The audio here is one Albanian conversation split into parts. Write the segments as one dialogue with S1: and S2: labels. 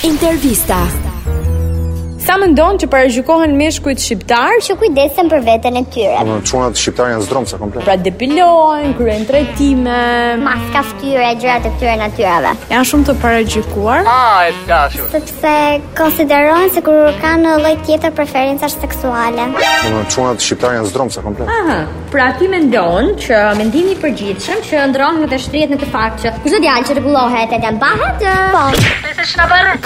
S1: Intervista.
S2: Sa më ndonë që parajgjukohen meshkujt shqiptar,
S3: që kujdesen për veten e tyre.
S4: Në çunat shqiptarë janë zdromca komplet.
S2: pra depilohen, kryen trajtime,
S3: Maska fytyre, gjërat e këtyre natyrave.
S2: janë shumë të parajgjukuar.
S5: Ah, e dashur.
S3: Sepse konsiderohen se kur kanë një lloj tjetër preferencash seksuale.
S4: Në çunat shqiptarë janë zdromca komplet.
S6: Aha, pra ti mendon që mendimi i përgjithshëm që ndron dhe shtrihet në të fakt që
S3: Kushdo djalë që rregullohet edhe mbahet? Po,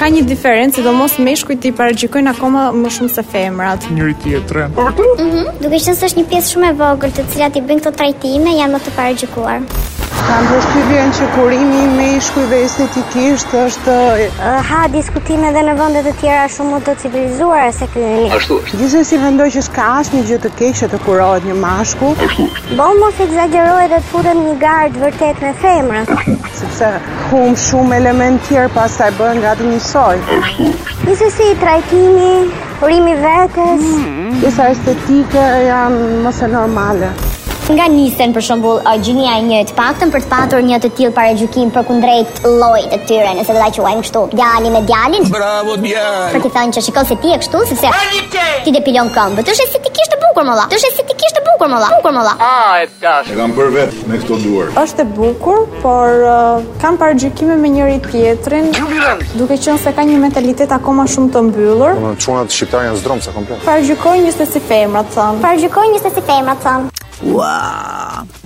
S2: Ka një diferencë, sidomos meshkujt i parajgjykojnë akoma më shumë se femrat.
S3: duke qenë se është një pjesë shumë e vogël të cilat i bëjnë këto trajtime, janë më të paragjykuar.
S7: Kam përshtypjen që kurimi i meshkujve estetikisht është
S3: Ha diskutime edhe në vende të tjera shumë më të civilizuara se ky yni.
S5: Ashtu është.
S7: gjithsesi mendoj që s'ka asnjë gjë të keqe të kurohet një mashku,
S3: Po mos egzagjerohet dhe të futet në një gard vërtet me femrën.
S7: sepse hum shumë element tjerë pastaj bëhen gati njësoj.
S3: Gjithsesi trajtimi, urimi vetes,
S7: Pjesa estetike janë mos e normale.
S3: Nga nisen për shembull uh, gjinia e një të paktën për të patur një të tillë paragjykim përkundrejt llojit të tyre, nëse do ta quajmë kështu, djali me djalin. Bravo djalë. Për të thënë që shikoj se ti je kështu sepse ti depilon këmbët. Është estetikisht e bukur molla. Është estetikisht e bukur molla. Bukur molla.
S5: Ah, e dashur.
S8: E kam bërë vetë me këto duar.
S2: është e bukur, por uh, kanë parajgjykime me njëri tjetrin, duke qenë se ka një mentalitet akoma shumë të mbyllur.
S4: Në çunat shqiptarë janë zdromca komplet.
S2: Parajgjykojnë njëse si femrat, thënë.
S3: Paragjykoj një se si femra thon.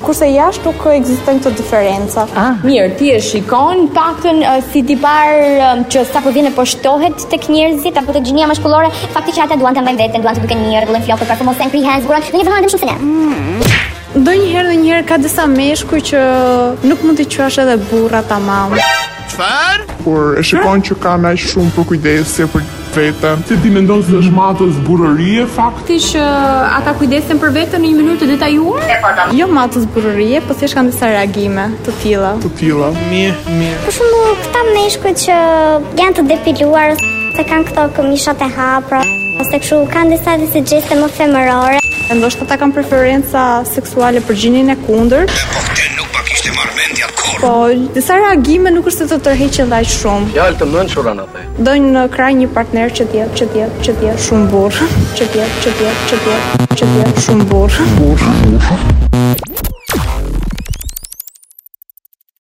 S2: Kurse jashtë nuk ekzistojnë këto diferenca.
S9: Mirë, ti e shikon paktën uh, si tipar um, që sapo vjen e poshtohet tek njerëzit apo tek gjinia maskullore, fakti që ata duan ta mbajnë veten, duan të duken mirë, rregullojnë flokët, pra mos janë krihen, zgjuan, do një vëmendje më shumë se ne.
S2: Ndonjëherë dhe njëherë ka disa meshkuj që nuk mund t'i quash edhe burra tamam.
S10: kur e shikon që kanë aq shumë për kujdesje për veten, ti ti mendon se është matës burrërie fakt
S9: Ti që ata kujdesen për veten në një mënyrë të detajuar?
S2: Jo matës burrërie, po thjesht kanë disa reagime të tilla.
S10: të tilla.
S3: Për shembull, këta meshkujt që janë të depiluar se kanë këto këmishat e hapura ose kështu kanë disa disa gjeste më femërore.
S2: Ndoshta ata kanë preferenca seksuale për gjinin e kundërt. Po, disa reagime nuk është se të tërheqen dhe aq shumë.
S5: Fjalë të mençura na the.
S2: Dojnë në kraj një partner që tjetë, që tjetë, që tjetë, shumë burr, që tjetë, që tjetë, që tjetë, që tjetë, shumë burr.